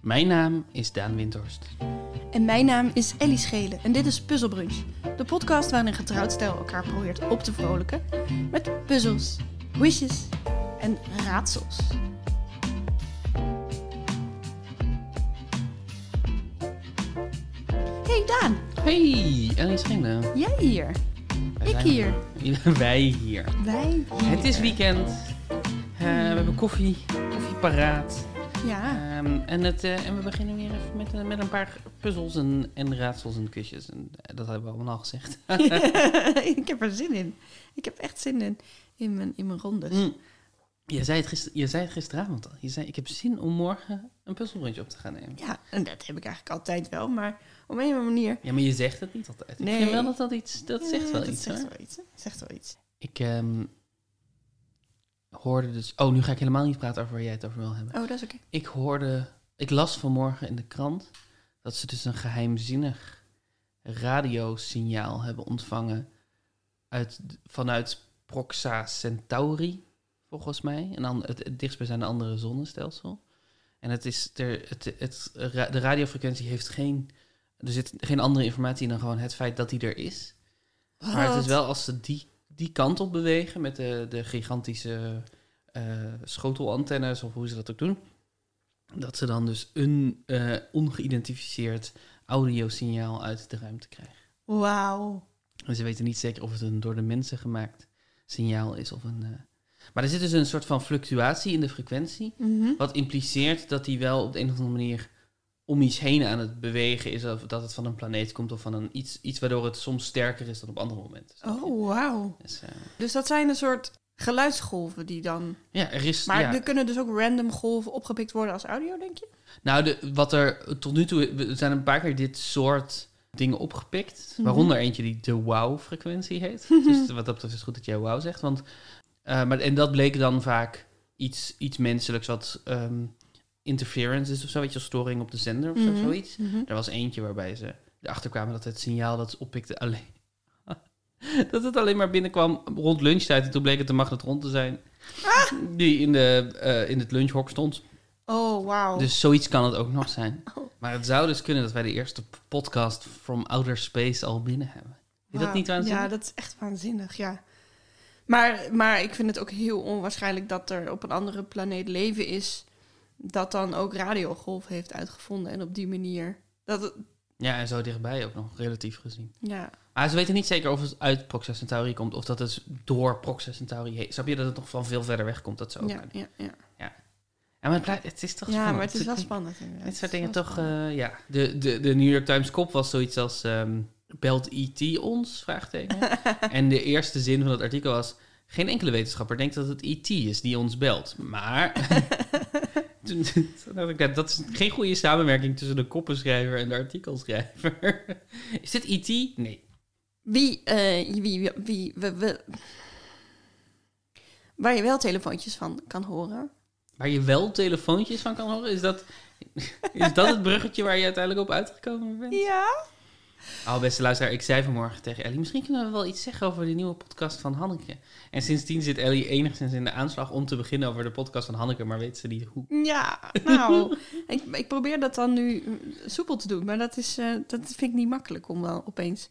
Mijn naam is Daan Windhorst. En mijn naam is Ellie Schelen en dit is Puzzlebrunch. De podcast waarin een getrouwd stijl elkaar probeert op te vrolijken met puzzels, wishes en raadsels. Hey Daan, Hey, Ellie Schelen. jij hier. Wij Ik zijn hier. er. Wij hier. Wij hier. Het is weekend. Eh, we hebben koffie, koffie paraat. Ja, Ehm, en, het, eh, en we beginnen weer even met, eh, met een paar puzzels en, en raadsels en kusjes. En, eh, dat hebben we allemaal al gezegd. ik heb er zin in. Ik heb echt zin in, in mijn, in mijn rondes. Mm. Je, zei het gister, je zei het gisteravond al. Je zei, ik heb zin om morgen een puzzelrondje op te gaan nemen. Ja, en dat heb ik eigenlijk altijd wel, maar op een of andere manier... Ja, maar je zegt het niet altijd. Ik Nee. vind wel dat dat iets... Dat zegt Ja, wel dat iets, zegt hoor. wel iets, hè? zegt wel iets. Ik ehm, hoorde dus. Oh, nu ga ik helemaal niet praten over waar jij het over wil hebben. Oh, dat is oké. Ik hoorde. Ik las vanmorgen in de krant dat ze dus een geheimzinnig radiosignaal hebben ontvangen uit, vanuit Proxa Centauri, volgens mij. En dan het, het dichtstbijzijnde andere zonnestelsel. En het is er, het, het, ra- de radiofrequentie heeft geen. Er zit geen andere informatie in dan gewoon het feit dat die er is. Maar Oh, het is wel als ze die, die kant op bewegen met de, de gigantische eh, schotelantennes of hoe ze dat ook doen. Dat ze dan dus een eh, ongeïdentificeerd audiosignaal uit de ruimte krijgen. Wauw. En ze weten niet zeker of het een door de mensen gemaakt signaal is of een. eh, Maar er zit dus een soort van fluctuatie in de frequentie. Mhm. Wat impliceert dat die wel op de een of andere manier om iets heen aan het bewegen is. Of dat het van een planeet komt of van een iets, iets waardoor het soms sterker is dan op andere momenten. Oh, wauw. Dus, eh, Dus dat zijn een soort geluidsgolven die dan... Ja, er is. Maar ja. er kunnen dus ook random golven opgepikt worden als audio, denk je? Nou, de, wat er tot nu toe. we- Er zijn een paar keer dit soort dingen opgepikt. Mhm. Waaronder eentje die de wow-frequentie heet. dus wat dat betreft is het goed dat jij wow zegt. Want, eh, maar, en dat bleek dan vaak iets, iets menselijks wat ehm, interference is of zo. Weet je, storing op de zender of zo, Mhm. zoiets. Er was eentje waarbij ze erachter kwamen dat het signaal dat ze oppikte alleen. dat het alleen maar binnenkwam rond lunchtijd. En toen bleek het een magnetron te zijn. Ah! Die in, de, eh, in het lunchhok stond. Oh, wauw. Dus zoiets kan het ook nog zijn. Oh. Maar het zou dus kunnen dat wij de eerste p- podcast from outer space al binnen hebben. Is dat Wauw. niet waanzinnig? Ja, dat is echt waanzinnig, ja. Maar, maar ik vind het ook heel onwaarschijnlijk dat er op een andere planeet leven is... dat dan ook radiogolf heeft uitgevonden en op die manier... Dat het, Ja, en zo dichtbij ook nog, relatief gezien. ja, Maar ze weten niet zeker of het uit Proxima Centauri komt of dat het door Proxima Centauri heet. Snap je dat het nog van veel verder weg komt? Dat ze ook. ja, kunnen. ja, ja. Ja, maar het, blijft- het is toch ja, spannend. maar het is wel spannend. inderdaad. Dit soort Het dingen is wel toch, spannend. eh, ja. De, de, de New York Times kop was zoiets als... ehm, belt E.T. ons? Vraagteken. en de eerste zin van dat artikel was... Geen enkele wetenschapper denkt dat het E.T. is die ons belt. Maar... Toen, toen dacht ik, ja, dat is geen goede samenwerking tussen de koppenschrijver en de artikelschrijver. is dit E.T.? Nee. Wie, eh, wie, wie, wie- we, we- waar je wel telefoontjes van kan horen. Waar je wel telefoontjes van kan horen? Is dat, is dat het bruggetje waar je uiteindelijk op uitgekomen bent? Ja? Oh, beste luisteraar, ik zei vanmorgen tegen Ellie... misschien kunnen we wel iets zeggen over de nieuwe podcast van Hanneke. En sindsdien zit Ellie enigszins in de aanslag om te beginnen over de podcast van Hanneke... maar weet ze niet hoe. Ja, nou. ik, ik probeer dat dan nu eh, soepel te doen, maar dat, is, eh, dat vind ik niet makkelijk om wel opeens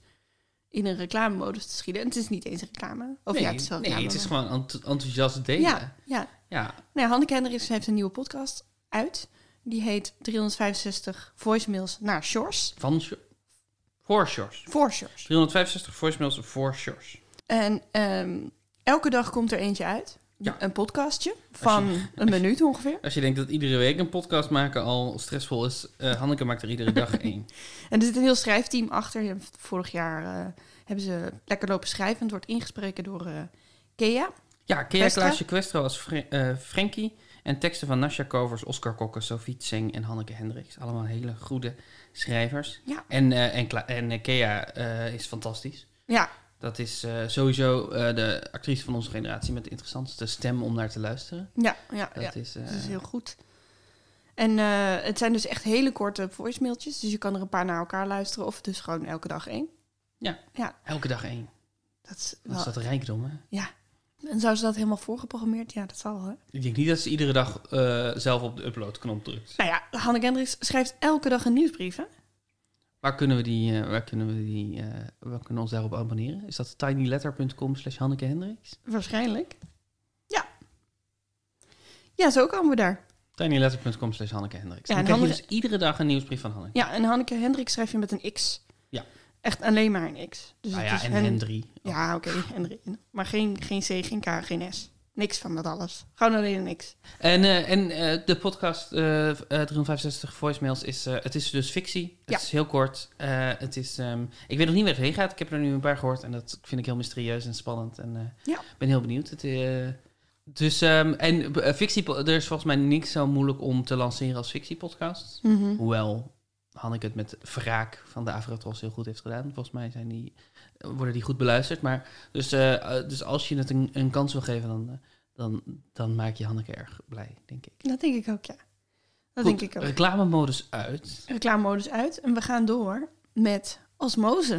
in een reclamemodus te schieten. En het is niet eens reclame. Of nee, ja, het is wel nee, reclame. het is maar- gewoon enth- enthousiast delen. Ja, ja. Ja. Nou, ja, Hanneke Hendricks heeft een nieuwe podcast uit. Die heet 365 voicemails naar Shores. Van Sjo- Voor Sjors. Voor Shores. 365 voicemails voor Sjors. En ehm, elke dag komt er eentje uit. Ja. Een podcastje van een minuut ongeveer. Als je denkt dat iedere week een podcast maken al stressvol is... eh, Hanneke maakt er iedere dag één. En er zit een heel schrijfteam achter. En Vorig jaar eh, hebben ze lekker lopen schrijven. Het wordt ingesproken door eh, Kea. Ja, Kea Questra? Klaasje Questra als Fre- eh, Frankie. En teksten van Nasja Kovers, Oscar Kokke, Sofie Tseng en Hanneke Hendricks. Allemaal hele goede schrijvers. Ja. En, eh, en, Kla- en eh, Kea eh, is fantastisch. Ja, Dat is eh, sowieso eh, de actrice van onze generatie met de interessantste stem om naar te luisteren. ja, ja. Dat ja. is, eh, Dat is heel goed. En eh, het zijn dus echt hele korte voicemailtjes. Dus je kan er een paar naar elkaar luisteren. Of dus gewoon elke dag één. elke dag één. Dat is Dat is wel... dat rijkdom, hè? Ja. En zou ze dat helemaal voorgeprogrammeerd? Ja, dat zal wel. Hè? Ik denk niet dat ze iedere dag eh, zelf op de upload-knop drukt. Nou ja, Hanneke Hendricks schrijft elke dag een nieuwsbrief. Hè? Waar kunnen we die, eh, waar kunnen we die, eh waar kunnen we ons daarop abonneren? Is dat tinyletter.com slash Hanneke Hendricks? Waarschijnlijk. Ja. Ja, zo komen we daar. Tinyletter.com slash Hanneke Hendricks. Ja, Dan en krijg je Hanneke- dus iedere dag een nieuwsbrief van Hanneke. Ja, en Hanneke Hendricks schrijf je met een X. Ja. Echt alleen maar een X. Dus Ah het ja, is en Hen- Hendrie. Ja, oké, Hendrik. Maar geen, geen C, geen K, geen S. Niks van dat alles. Gewoon alleen een X. En, eh, en eh, de podcast eh, eh, 365 Voicemails is, eh, het is dus fictie. Het Ja. is heel kort. Eh, het is, ehm, ik weet nog niet waar het heen gaat. Ik heb er nu een paar gehoord en dat vind ik heel mysterieus en spannend. En eh, Ja. ben heel benieuwd. Het, eh, dus, ehm, en eh, fictie, er is volgens mij niks zo moeilijk om te lanceren als fictiepodcast. Hoewel Hanneke het met wraak van de Avrotros heel goed heeft gedaan. Volgens mij zijn die, worden die goed beluisterd. Maar, dus, eh, eh, dus als je het een, een kans wil geven, dan, eh, dan, dan maak je Hanneke erg blij, denk ik. Dat denk ik ook, ja. Dat Goed, eh, denk ik ook. Reclamemodus uit. Reclamemodus uit en we gaan door met osmose.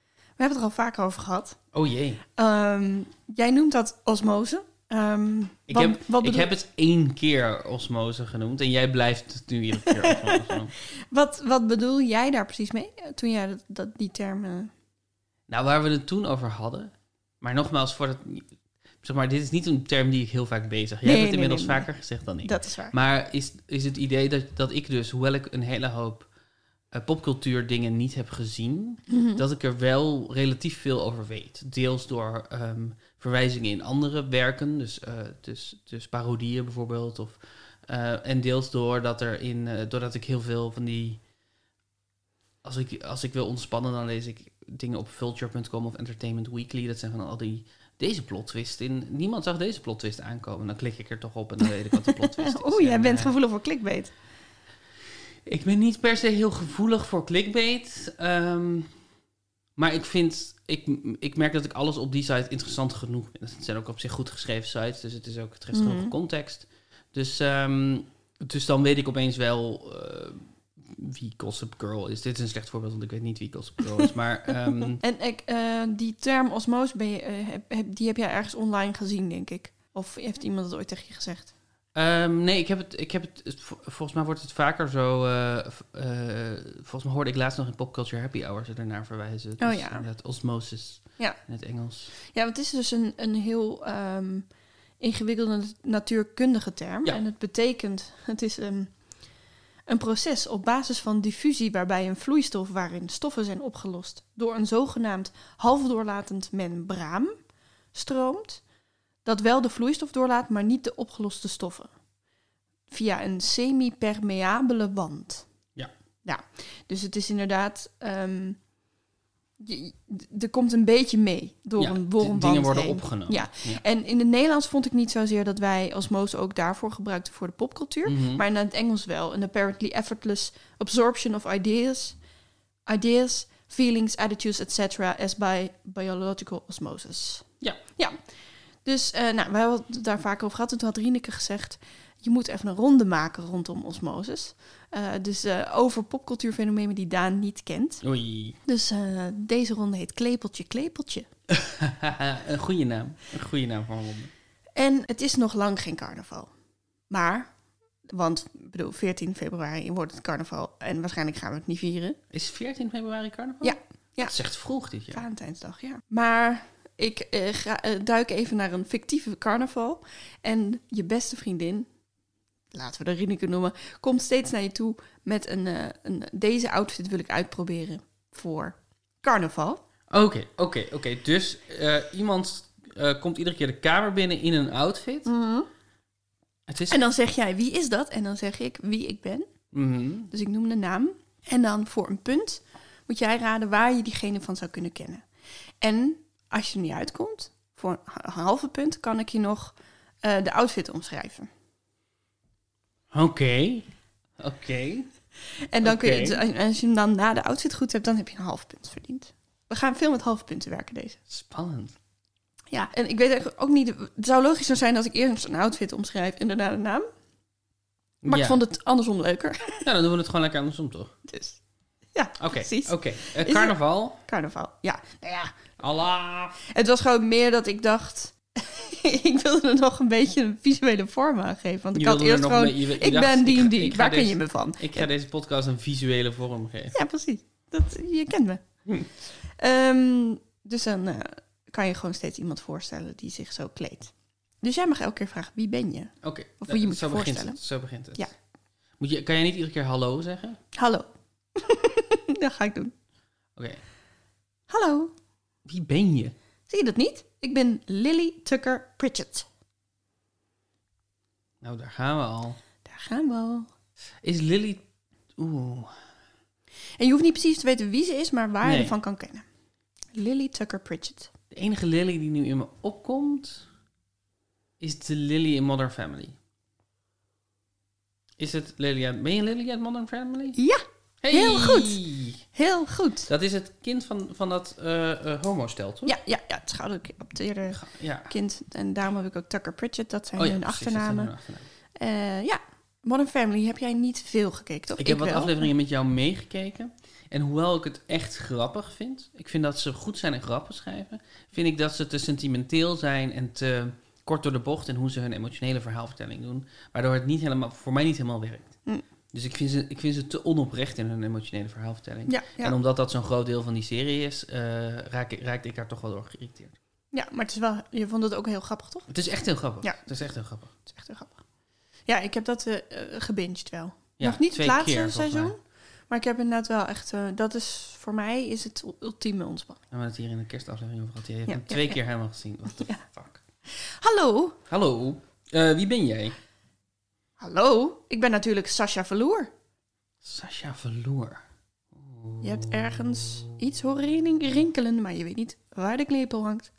We hebben het er al vaker over gehad. Oh jee. Ehm, jij noemt dat osmose. Ehm, Ik, wat- heb, wat ik bedoel- heb het één keer osmose genoemd en jij blijft het nu iedere keer osmose noemen. Wat, wat bedoel jij daar precies mee eh, toen jij dat, dat, die eh, termen... Nou, waar we het toen over hadden. Maar nogmaals, voor het, zeg maar, dit is niet een term die ik heel vaak bezig. Jij Nee, hebt het nee, inmiddels nee, nee. vaker gezegd dan ik. Dat is waar. Maar is, is het idee dat, dat ik dus, hoewel ik een hele hoop eh, popcultuur dingen niet heb gezien, Mhm. dat ik er wel relatief veel over weet. Deels door ehm, verwijzingen in andere werken, dus, eh, dus, dus parodieën bijvoorbeeld. Of, eh, en deels door dat er in, eh, doordat ik heel veel van die. Als ik, als ik wil ontspannen, dan lees ik dingen op vulture.com of Entertainment Weekly. Dat zijn van al die. Deze plot twist in. Niemand zag deze plot twist aankomen. Dan klik ik er toch op en dan weet ik wat de plot twist is. Oeh, Oh, jij En, bent eh, gevoelig voor clickbait. ik ben niet per se heel gevoelig voor clickbait. ehm, maar ik vind, ik, ik merk dat ik alles op die site interessant genoeg vind. Het zijn ook op zich goed geschreven sites, dus het is ook het treft genoeg Mhm. context. Dus, ehm, dus dan weet ik opeens wel eh, wie Gossip Girl is. Dit is een slecht voorbeeld, want ik weet niet wie Gossip Girl is. Maar ehm, En ik, eh, die term osmose, ben je, eh, heb- heb- die heb jij ergens online gezien, denk ik. Of heeft iemand dat ooit tegen je gezegd? Ehm, nee, ik heb het. Ik heb het, het vo- volgens mij wordt het vaker zo. eh, v- eh, volgens mij hoorde ik laatst nog in Pop Culture Happy Hours ernaar verwijzen. Oh Dus ja. Inderdaad, osmosis. Ja. In het Engels. Ja, want het is dus een, een heel ehm, ingewikkelde nat- natuurkundige term. Ja. En het betekent, het is ehm, een proces op basis van diffusie waarbij een vloeistof waarin stoffen zijn opgelost door een zogenaamd halfdoorlatend membraan stroomt, dat wel de vloeistof doorlaat, maar niet de opgeloste stoffen. Via een semi-permeabele wand. Ja. Ja, dus het is inderdaad... ehm, je- je- d- er komt een beetje mee door Ja, een d- wormwand Dingen worden heen. opgenomen. Ja. En in het Nederlands vond ik niet zozeer dat wij osmose ook daarvoor gebruikten voor de popcultuur. Mhm. Maar in het Engels wel. An apparently effortless absorption of ideas, ideas, feelings, attitudes, etc. as by biological osmosis. Ja. Ja. Dus eh, nou, we hebben het daar vaak over gehad. En toen had Rieneke gezegd, je moet even een ronde maken rondom osmosis. Eh, dus eh, over popcultuurfenomenen die Daan niet kent. Oei. Dus eh, deze ronde heet Klepeltje, Klepeltje. een goede naam. Een goede naam voor een ronde. En het is nog lang geen carnaval. Maar, want ik bedoel, 14 februari wordt het carnaval en waarschijnlijk gaan we het niet vieren. Is 14 februari carnaval? Ja, ja. Dat is echt vroeg dit jaar. Valentijnsdag, ja. Maar ik eh, ga, eh, duik even naar een fictieve carnaval. En je beste vriendin, laten we de Rieneke noemen, komt steeds naar je toe met een, eh, een deze outfit wil ik uitproberen voor carnaval. Oké, oké, oké. Dus eh, iemand eh, komt iedere keer de kamer binnen in een outfit. Het is. Mm. En dan zeg jij, wie is dat? En dan zeg ik wie ik ben. Mhm. Dus ik noem de naam. En dan voor een punt moet jij raden waar je diegene van zou kunnen kennen. En als je er niet uitkomt, voor een ha- halve punt kan ik je nog eh, de outfit omschrijven. Oké. Oké. En dan kun je, Oké. dus als- als je hem dan na de outfit goed hebt, dan heb je een half punt verdiend. We gaan veel met halve punten werken deze. Spannend. Ja, en ik weet eigenlijk ook niet. Het zou logischer zijn als ik eerst een outfit omschrijf en daarna de naam. Maar Ja. ik vond het andersom leuker. Nou, dan doen we het gewoon lekker andersom, toch? Dus ja, Oké, precies. oké. Eh, het- carnaval. Carnaval. Ja, nou ja, Allah. Het was gewoon meer dat ik dacht. ik wilde er nog een beetje een visuele vorm aan geven. Want ik Je had wilde er eerst nog gewoon... mee- je- je ik dacht, ben die en ga- die. ik ga dus- Waar ken deze- je me van? Ik ga deze podcast een visuele vorm geven. Ja, precies. Dat, je kent me. Hm. Ehm, dus dan eh, kan je gewoon steeds iemand voorstellen die zich zo kleedt. Dus jij mag elke keer vragen, wie ben je? Oké. Of nou, je moet zo begint je voorstellen. het. Zo begint het. Ja. Moet je, kan jij niet iedere keer hallo zeggen? Oké. Hallo. dat ga ik doen. Hallo. Wie ben je? Zie je dat niet? Ik ben Lily Tucker Pritchett. Nou, daar gaan we al. Daar gaan we al. Is Lily... Oeh. En je hoeft niet precies te weten wie ze is, maar waar je Nee. ervan kan kennen. Lily Tucker Pritchett. De enige Lily die nu in me opkomt... is de Lily in Modern Family. Is het Lily uit... Ben je Lily uit Modern Family? Ja, Hey! Heel goed. heel goed. Dat is het kind van, van dat eh eh homostel, toch? Ja, ja, ja het is geadopteerde Ga- ja. kind. En daarom heb ik ook Tucker Pritchett. Dat zijn Oh ja, hun precies, dat zijn achternamen. hun achternamen. Eh, ja, Modern Family heb jij niet veel gekeken, toch? Ik heb wat wel. afleveringen met jou meegekeken. En hoewel ik het echt grappig vind, ik vind dat ze goed zijn in grappen schrijven, vind ik dat ze te sentimenteel zijn en te kort door de bocht in hoe ze hun emotionele verhaalvertelling doen, waardoor het niet helemaal, voor mij niet helemaal werkt. Mm. Dus ik vind, ze, ik vind ze te onoprecht in hun emotionele verhaalvertelling. Ja, ja. En omdat dat zo'n groot deel van die serie is, eh, raak ik, raakte ik daar toch wel door geïrriteerd. ja, maar het is wel, je vond het ook heel grappig, toch? Het is echt heel grappig. Ja. Het is echt heel grappig. Het is echt heel grappig. Ja, ik heb dat eh eh, gebinged wel. Ja, Nog niet het twee laatste keer, volgens seizoen. mij. Maar ik heb inderdaad wel echt... eh, dat is voor mij is het ul- ultieme ontspanning. We hebben het hier in de kerstaflevering over gehad. Je hebt Ja, hem ja, twee ja. keer helemaal gezien. What the Ja. fuck. Hallo! Hallo, eh, wie ben jij? Hallo! Ik ben natuurlijk Sascha Verloer. Sascha Verloor. Je hebt ergens iets horen rin- rinkelen, maar je weet niet waar de klepel hangt.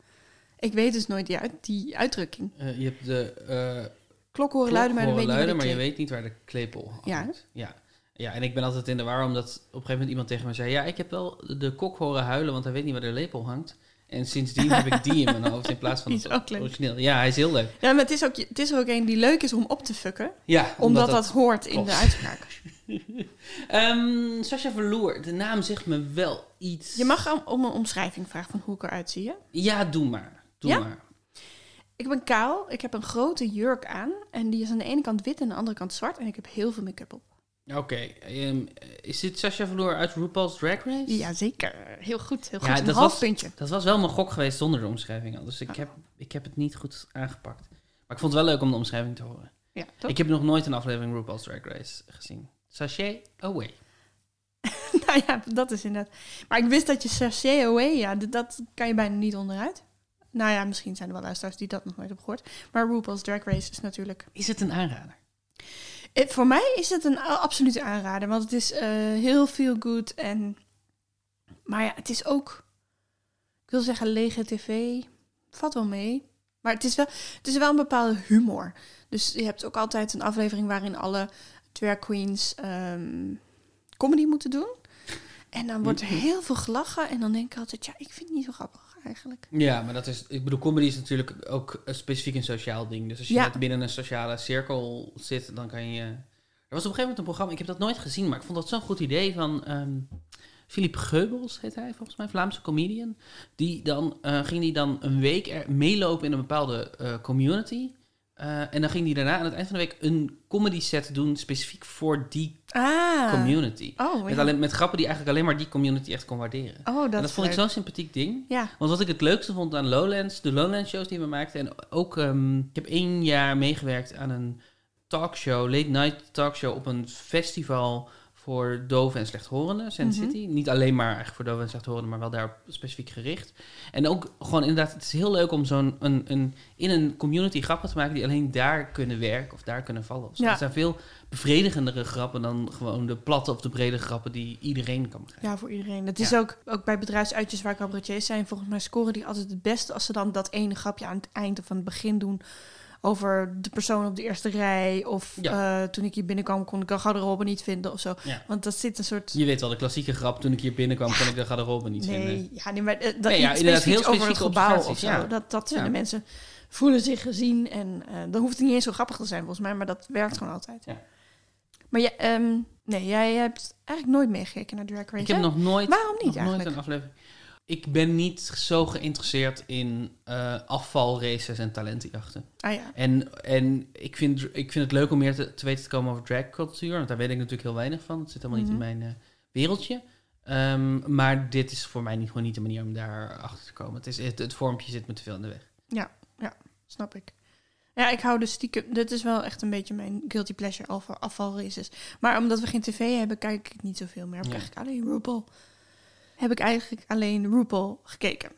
Ik weet dus nooit die, uit- die uitdrukking. Eh, je hebt de eh Klok horen klok luiden, maar, dan horen weet luiden, maar niet je waar de weet niet waar de klepel hangt. Ja, Ja, ja. Ja, en ik ben altijd in de war omdat op een gegeven moment iemand tegen me zei... Ja, ik heb wel de kok horen huilen, want hij weet niet waar de lepel hangt. En sindsdien heb ik die in mijn hoofd in plaats van Die is ook het leuk. origineel. Ja, hij is heel leuk. Ja, maar het is, ook, het is er ook een die leuk is om op te fucken. Ja, Omdat dat, hoort in klopt. de uitspraak. Ehm, Sascha Verloor, de naam zegt me wel iets. Je mag om, om een omschrijving vragen van hoe ik eruit zie. Hè? Ja, doe maar. Doe Ja? maar. Ik ben kaal, ik heb een grote jurk aan. En die is aan de ene kant wit en aan de andere kant zwart. En ik heb heel veel make-up op. Oké, ehm, is dit Sascha Verloor uit RuPaul's Drag Race? Jazeker, heel goed. Heel goed. Ja, een dat half was- puntje. Dat was wel mijn gok geweest zonder de omschrijving al. Dus ik heb, ik heb het niet goed aangepakt. Maar ik vond het wel leuk om de omschrijving te horen. Ja, toch? Ik heb nog nooit een aflevering RuPaul's Drag Race gezien. Sachet away. nou ja, dat is inderdaad. Maar ik wist dat je sachet away, ja, d- dat kan je bijna niet onderuit. Nou ja, misschien zijn er wel luisteraars die dat nog nooit hebben gehoord. Maar RuPaul's Drag Race is natuurlijk... Is het een aanrader? Eh, voor mij is het een a- absolute aanrader, want het is eh, heel feel good en... Maar ja, het is ook, ik wil zeggen, lege tv. Valt wel mee. Maar het is wel, het is wel een bepaalde humor. Dus je hebt ook altijd een aflevering waarin alle drag queens ehm, comedy moeten doen. En dan wordt er heel veel gelachen. En dan denk ik altijd, ja, ik vind het niet zo grappig eigenlijk. Ja, maar dat is... Ik bedoel, comedy is natuurlijk ook eh, specifiek een sociaal ding. Dus als je Ja. net binnen een sociale cirkel zit, dan kan je... Er was op een gegeven moment een programma, ik heb dat nooit gezien, maar ik vond dat zo'n goed idee van... ehm Philip Geubels heet hij volgens mij, Vlaamse comedian. Die dan, eh, ging die dan een week er, meelopen in een bepaalde eh, community. Eh, en dan ging die daarna aan het eind van de week een comedy set doen specifiek voor die Ah. community. Oh, Met, ja. alleen, met grappen die eigenlijk alleen maar die community echt kon waarderen. oh dat, en dat is vond ik leuk. zo'n sympathiek ding. Ja. Want wat ik het leukste vond aan Lowlands, de Lowlands-shows die we maakten. En ook, ehm, ik heb één jaar meegewerkt aan een talkshow, late night talkshow op een festival voor doven en slechthorenden, Sand Mhm. City. Niet alleen maar eigenlijk voor doven en slechthorenden, maar wel daarop specifiek gericht. En ook gewoon inderdaad, het is heel leuk om zo'n een, een, in een community grappen te maken die alleen daar kunnen werken of daar kunnen vallen. of zo. Ja. Er zijn veel bevredigendere grappen dan gewoon de platte of de brede grappen die iedereen kan begrijpen. Ja, voor iedereen. Dat is ook, ook bij bedrijfsuitjes waar cabaretiers zijn. Volgens mij scoren die altijd het beste als ze dan dat ene grapje aan het eind of aan het begin doen. Over de persoon op de eerste rij. Of Ja. eh, toen ik hier binnenkwam kon ik al gauw de Robben niet vinden of zo. Ja. Want dat zit een soort... Je weet wel, de klassieke grap, toen ik hier binnenkwam, kon ik de garderobe niet nee, vinden. ja, nee, maar eh, dat Nee, ja, iets inderdaad, specifieks heel over het specifieke gebouw of observaties, zo. ja. Dat, dat vinden Ja. mensen voelen zich gezien. En eh, dan hoeft het niet eens zo grappig te zijn volgens mij. Maar dat werkt gewoon altijd. Ja. Maar jij, ehm, nee, jij hebt eigenlijk nooit meegekeken naar Drag Race. Ik heb hè? nog nooit, Waarom niet nog nooit eigenlijk? een aflevering. ik ben niet zo geïnteresseerd in eh, afvalraces en talentenjachten. Ah ja. En, en ik, vind, ik vind het leuk om meer te, te weten te komen over dragcultuur. Want daar weet ik natuurlijk heel weinig van. Het zit helemaal Mhm. niet in mijn eh, wereldje. Ehm, maar dit is voor mij niet, gewoon niet de manier om daar achter te komen. Het, is, het, het vormpje zit me te veel in de weg. Snap ik. Ja, ik hou dus stiekem... Dit is wel echt een beetje mijn guilty pleasure alfa- afvalraces. Maar omdat we geen tv hebben, kijk ik niet zoveel meer. Heb ik Ja. eigenlijk alleen RuPaul... Heb ik eigenlijk alleen RuPaul gekeken.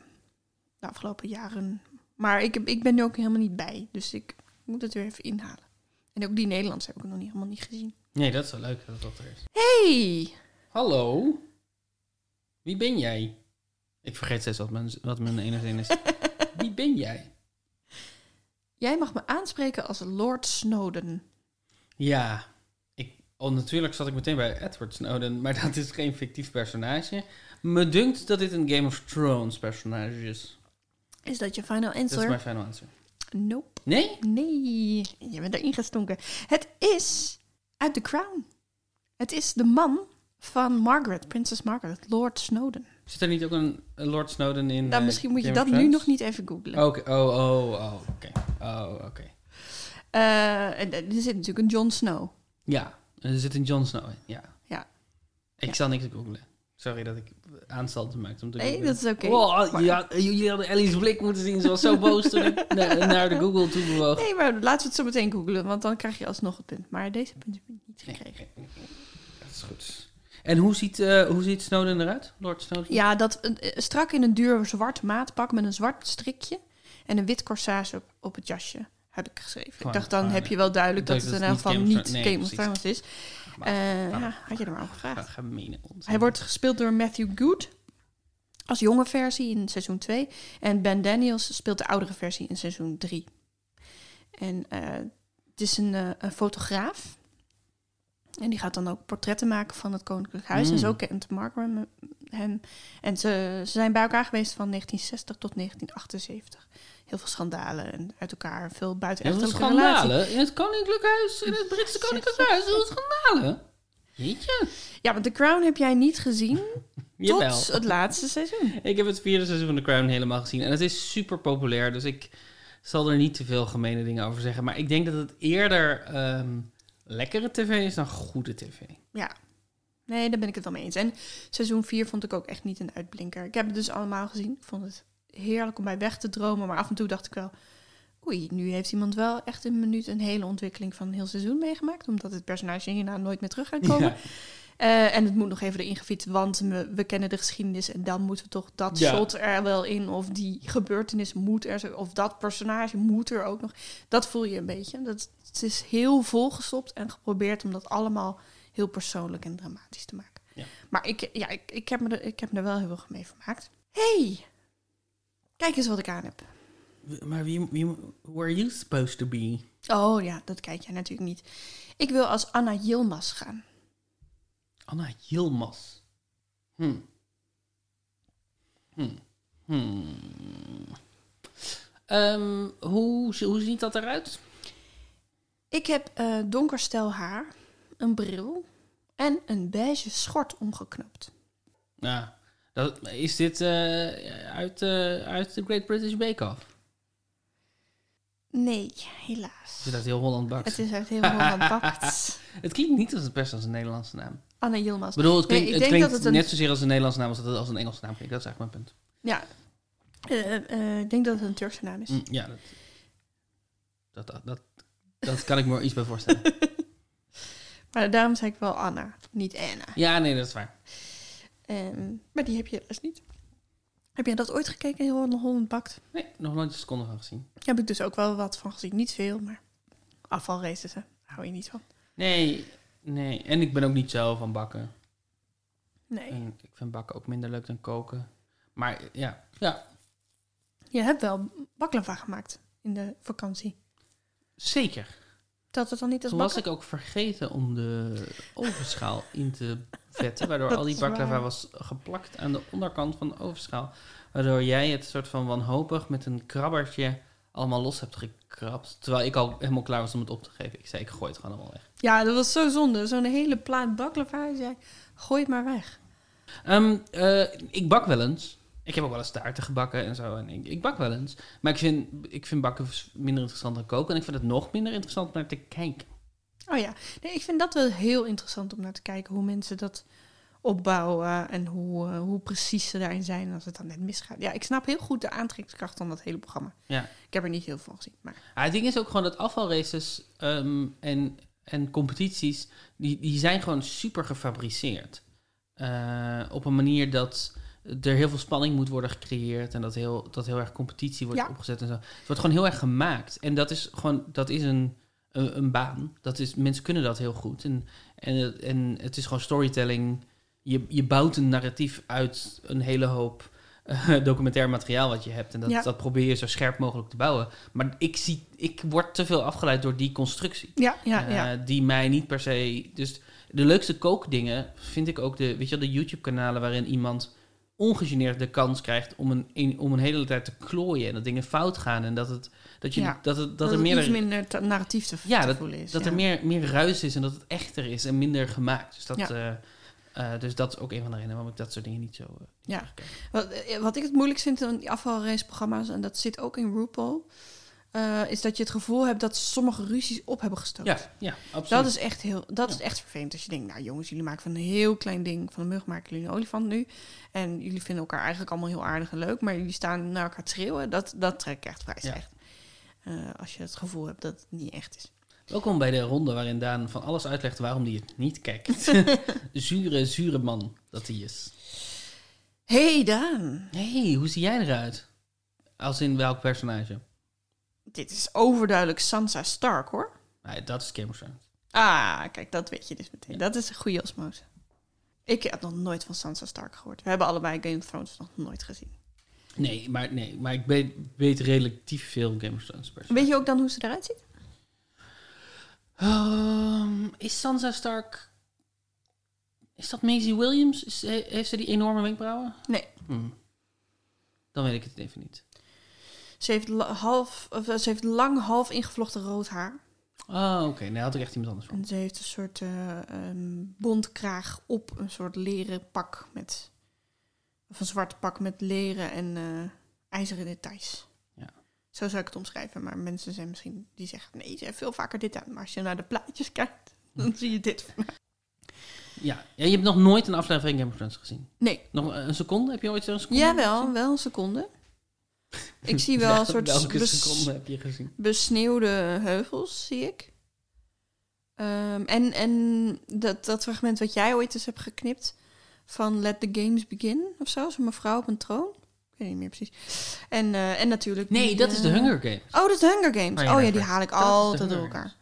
De afgelopen jaren. Maar ik, heb- ik ben er ook helemaal niet bij. Dus ik moet het weer even inhalen. En ook die Nederlands heb ik nog niet, helemaal niet gezien. Nee, dat is wel leuk dat dat er is. Hey! Hallo? Wie ben jij? Ik vergeet steeds wat mijn, wat mijn ene zin is. Wie ben jij? Jij mag me aanspreken als Lord Snowden. Ja, ik, oh, natuurlijk zat ik meteen bij Edward Snowden. Maar dat is geen fictief personage. Me dunkt dat dit een Game of Thrones personage is. Is dat je final Dat is answer? mijn final answer. Nope. Nee? Nee, je bent erin gestonken. Het is uit The Crown. Het is de man van Margaret, prinses Margaret, Lord Snowden. Zit er niet ook een een Lord Snowden in? Nou, eh, misschien moet je Game dat of nu Thrones? nog niet even googlen. Oké, oh, oh, oh, oké. Oh, oké. Eh, en er zit natuurlijk een Jon Snow. Ja, er zit een Jon Snow in, ja. Ja. Ik Ja. zal niks googlen. Sorry dat ik aanstalten maakte om te Nee, googlen. dat is oké. Wow, ah, Maar- ja, jullie hadden Ellie's blik moeten zien. Ze was zo boos toen ik na- naar de Google toe bewoog. Nee, maar laten we het zo meteen googlen, want dan krijg je alsnog het punt. Maar deze punt heb ik niet Nee, gekregen. nee, nee. Dat is goed. En hoe ziet, eh, hoe ziet Snowden eruit? Lord Snowden? Ja, dat eh, strak in een duur zwart maatpak met een zwart strikje en een wit corsage op, op het jasje heb ik geschreven. Gewoon, ik dacht, dan gewoon, heb je wel duidelijk dat, dat het in het elk niet geval Game of niet Thrones- nee, Game of precies. Thrones is. Maar- Eh, maar- ja, had je er maar over Wat gevraagd. gemene onzin. Hij wordt gespeeld door Matthew Good als jonge versie in seizoen 2. En Ben Daniels speelt de oudere versie in seizoen 3. En eh, het is een, eh, een fotograaf. En die gaat dan ook portretten maken van het Koninklijk Huis. Mm. En zo kent Mark hem. hem. En ze, ze zijn bij elkaar geweest van 1960 tot 1978. Heel veel schandalen en uit elkaar. Veel Heel veel buitenechtelijke relaties. schandalen in het Koninklijk Huis, in het Britse Koninklijk Huis. Heel veel schandalen. Jeetje. Ja, want The Crown heb jij niet gezien Jawel. tot het laatste seizoen. Ik heb het vierde seizoen van The Crown helemaal gezien. En het is super populair, dus ik zal er niet te veel gemene dingen over zeggen. Maar ik denk dat het eerder ehm, lekkere tv is dan goede tv. Ja. Nee, daar ben ik het wel mee eens. En seizoen 4 vond ik ook echt niet een uitblinker. Ik heb het dus allemaal gezien. Ik vond het heerlijk om bij weg te dromen. Maar af en toe dacht ik wel... Oei, nu heeft iemand wel echt een minuut een hele ontwikkeling van een heel seizoen meegemaakt. Omdat het personage hierna nooit meer terug gaat komen. Ja. Eh, en het moet nog even erin gefietst, want we, we kennen de geschiedenis. En dan moeten we toch dat Ja. shot er wel in. Of die gebeurtenis moet er zo. Of dat personage moet er ook nog. Dat voel je een beetje. Dat, het is heel volgestopt en geprobeerd om dat allemaal heel persoonlijk en dramatisch te maken. Ja. Maar ik, ja, ik, ik, heb me er, ik heb me er wel heel erg mee vermaakt. hey, kijk eens wat ik aan heb. W- Maar wie, wie, who are you supposed to be? Oh ja, dat kijk jij natuurlijk niet. Ik wil als Anna Yilmaz gaan. Anna Yilmaz. Hm. Hm. Hm. Ehm, hoe, zie- hoe ziet dat eruit? Ik heb eh donker stel haar, een bril en een beige schort omgeknopt. Nou, dat, is dit eh, uit, eh, uit de Great British Bake Off? Nee, helaas. Is het uit heel Holland Baks? Het is uit heel Holland bakt. Het klinkt niet als het best als een Nederlandse naam. Anna Yilmaz. Ik bedoel, het klinkt, ik het denk klinkt dat het een- net zozeer als een Nederlandse naam als dat het als een Engelse naam klinkt. Dat is eigenlijk mijn punt. Ja, Eh, eh, ik denk dat het een Turkse naam is. Mm, ja, dat, dat, dat, dat, dat kan ik me er iets bij voorstellen. Maar daarom zei ik wel Anna, niet Anna. ja, nee, dat is waar. Ehm, maar die heb je helaas niet. Heb jij dat ooit gekeken, heel Holland bakt? Nee, nog nooit een seconde van gezien. Daar heb ik dus ook wel wat van gezien. Niet veel, maar afvalraces, hè. Daar hou je niet van. Nee, nee. En ik ben ook niet zo van bakken. Nee. En ik vind bakken ook minder leuk dan koken. Maar ja, ja Je hebt wel baklava gemaakt in de vakantie. zeker. Telt dat dan niet als Toen bakken? was ik ook vergeten om de ovenschaal in te vetten, waardoor Dat al die is baklava waar. was geplakt aan de onderkant van de ovenschaal. Waardoor jij het soort van wanhopig met een krabbertje allemaal los hebt gekrapt. Terwijl ik al helemaal klaar was om het op te geven. Ik zei, ik gooi het gewoon allemaal weg. Ja, dat was zo zonde. Zo'n hele plaat baklava. Hij zei, gooi het maar weg. Ehm, eh, ik bak wel eens. Ik Ik heb ook wel eens taarten gebakken en zo. En ik, ik bak wel eens. Maar ik vind, ik vind bakken minder interessant dan koken. En ik vind het nog minder interessant om naar te kijken. Oh ja, nee, ik vind dat wel heel interessant om naar te kijken hoe mensen dat opbouwen en hoe, eh, hoe precies ze daarin zijn als het dan net misgaat. Ja, ik snap heel goed de aantrekkingskracht van dat hele programma. Ja. Ik heb er niet heel veel van gezien, maar Ah, het ding is ook gewoon dat afvalraces ehm, en, en competities, die, die zijn gewoon super gefabriceerd. Eh, op een manier dat er heel veel spanning moet worden gecreëerd en dat heel, dat heel erg competitie wordt Ja. opgezet en zo. Het wordt gewoon heel erg gemaakt. En dat is gewoon, dat is een, een, een baan. Dat is, mensen kunnen dat heel goed. En, en, en het is gewoon storytelling. Je, je bouwt een narratief uit een hele hoop eh, documentair materiaal wat je hebt. En dat, Ja. dat probeer je zo scherp mogelijk te bouwen. Maar ik, zie, ik word te veel afgeleid door die constructie. ja, ja, ja. Eh, die mij niet per se. Dus de leukste kookdingen vind ik ook de, weet je wel, de YouTube-kanalen waarin iemand ongegeneerd de kans krijgt om een, in- om een hele tijd te klooien en dat dingen fout gaan en dat het dat je Ja. dat het, dat, dat, er het iets meer minder te- narratief te, Ja, te voelen is. dat ja. er meer, meer ruis is en dat het echter is en minder gemaakt. Dus dat, Ja. eh, eh, dus dat is ook een van de redenen waarom ik dat soort dingen niet zo. eh, niet Ja. zo kijk. Wat, eh, wat ik het moeilijk vind aan die afvalraceprogramma's, en dat zit ook in RuPaul, eh, is dat je het gevoel hebt dat ze sommige ruzies op hebben gestoken. ja, ja, absoluut. Dat is echt heel, dat Ja. is echt vervelend. Als je denkt, nou jongens, jullie maken van een heel klein ding, van een mug maken jullie een olifant nu. En jullie vinden elkaar eigenlijk allemaal heel aardig en leuk, maar jullie staan naar elkaar te schreeuwen. Dat, dat trek ik echt vrij Ja. slecht. Eh, als je het gevoel hebt dat het niet echt is. Welkom bij de ronde waarin Daan van alles uitlegt waarom hij het niet kijkt. zure, zure man dat hij is. Hey Daan, hey, hoe zie jij eruit? Als in welk personage? dit is overduidelijk Sansa Stark hoor. Nee, dat is Game of Thrones. Ah, kijk, dat weet je dus meteen. Dat is een goede osmose. Ik had nog nooit van Sansa Stark gehoord. We hebben allebei Game of Thrones nog nooit gezien. Nee, maar, nee, maar ik weet, weet relatief veel Game of Thrones personages. Weet je ook dan hoe ze eruit ziet? Ehm, is Sansa Stark... Is dat Maisie Williams? Is, he- heeft ze die enorme wenkbrauwen? Nee. Hmm. Dan weet ik het even niet. Ze heeft, la- half, of, eh, ze heeft lang half ingevlochten rood haar. Oh, oké. Nee, daar had ik echt iemand anders van. En ze heeft een soort eh, ehm, bondkraag op een soort leren pak met. Of een zwart pak met leren en eh, ijzeren details. Ja. Zo zou ik het omschrijven, maar mensen zijn misschien die zeggen: nee, ze heeft veel vaker dit aan. Maar als je naar de plaatjes kijkt, dan zie je dit. Ja. ja, je hebt nog nooit een aflevering Game of Thrones gezien. Nee. Nog een seconde? Heb je ooit een seconde Jawel, wel een seconde. Ik zie wel een soort Welke bes- seconde heb je gezien? besneeuwde heuvels, zie ik. Ehm, en en dat, dat fragment wat jij ooit eens hebt geknipt van Let the Games Begin of zo, zo'n mevrouw op een troon. Ik weet niet meer precies. En, eh, en natuurlijk... Nee, die, dat is de eh, Hunger Games. Oh, dat is de Hunger Oh Games. Oh ja, ja, die dat- haal ik dat is de altijd Hunger door elkaar.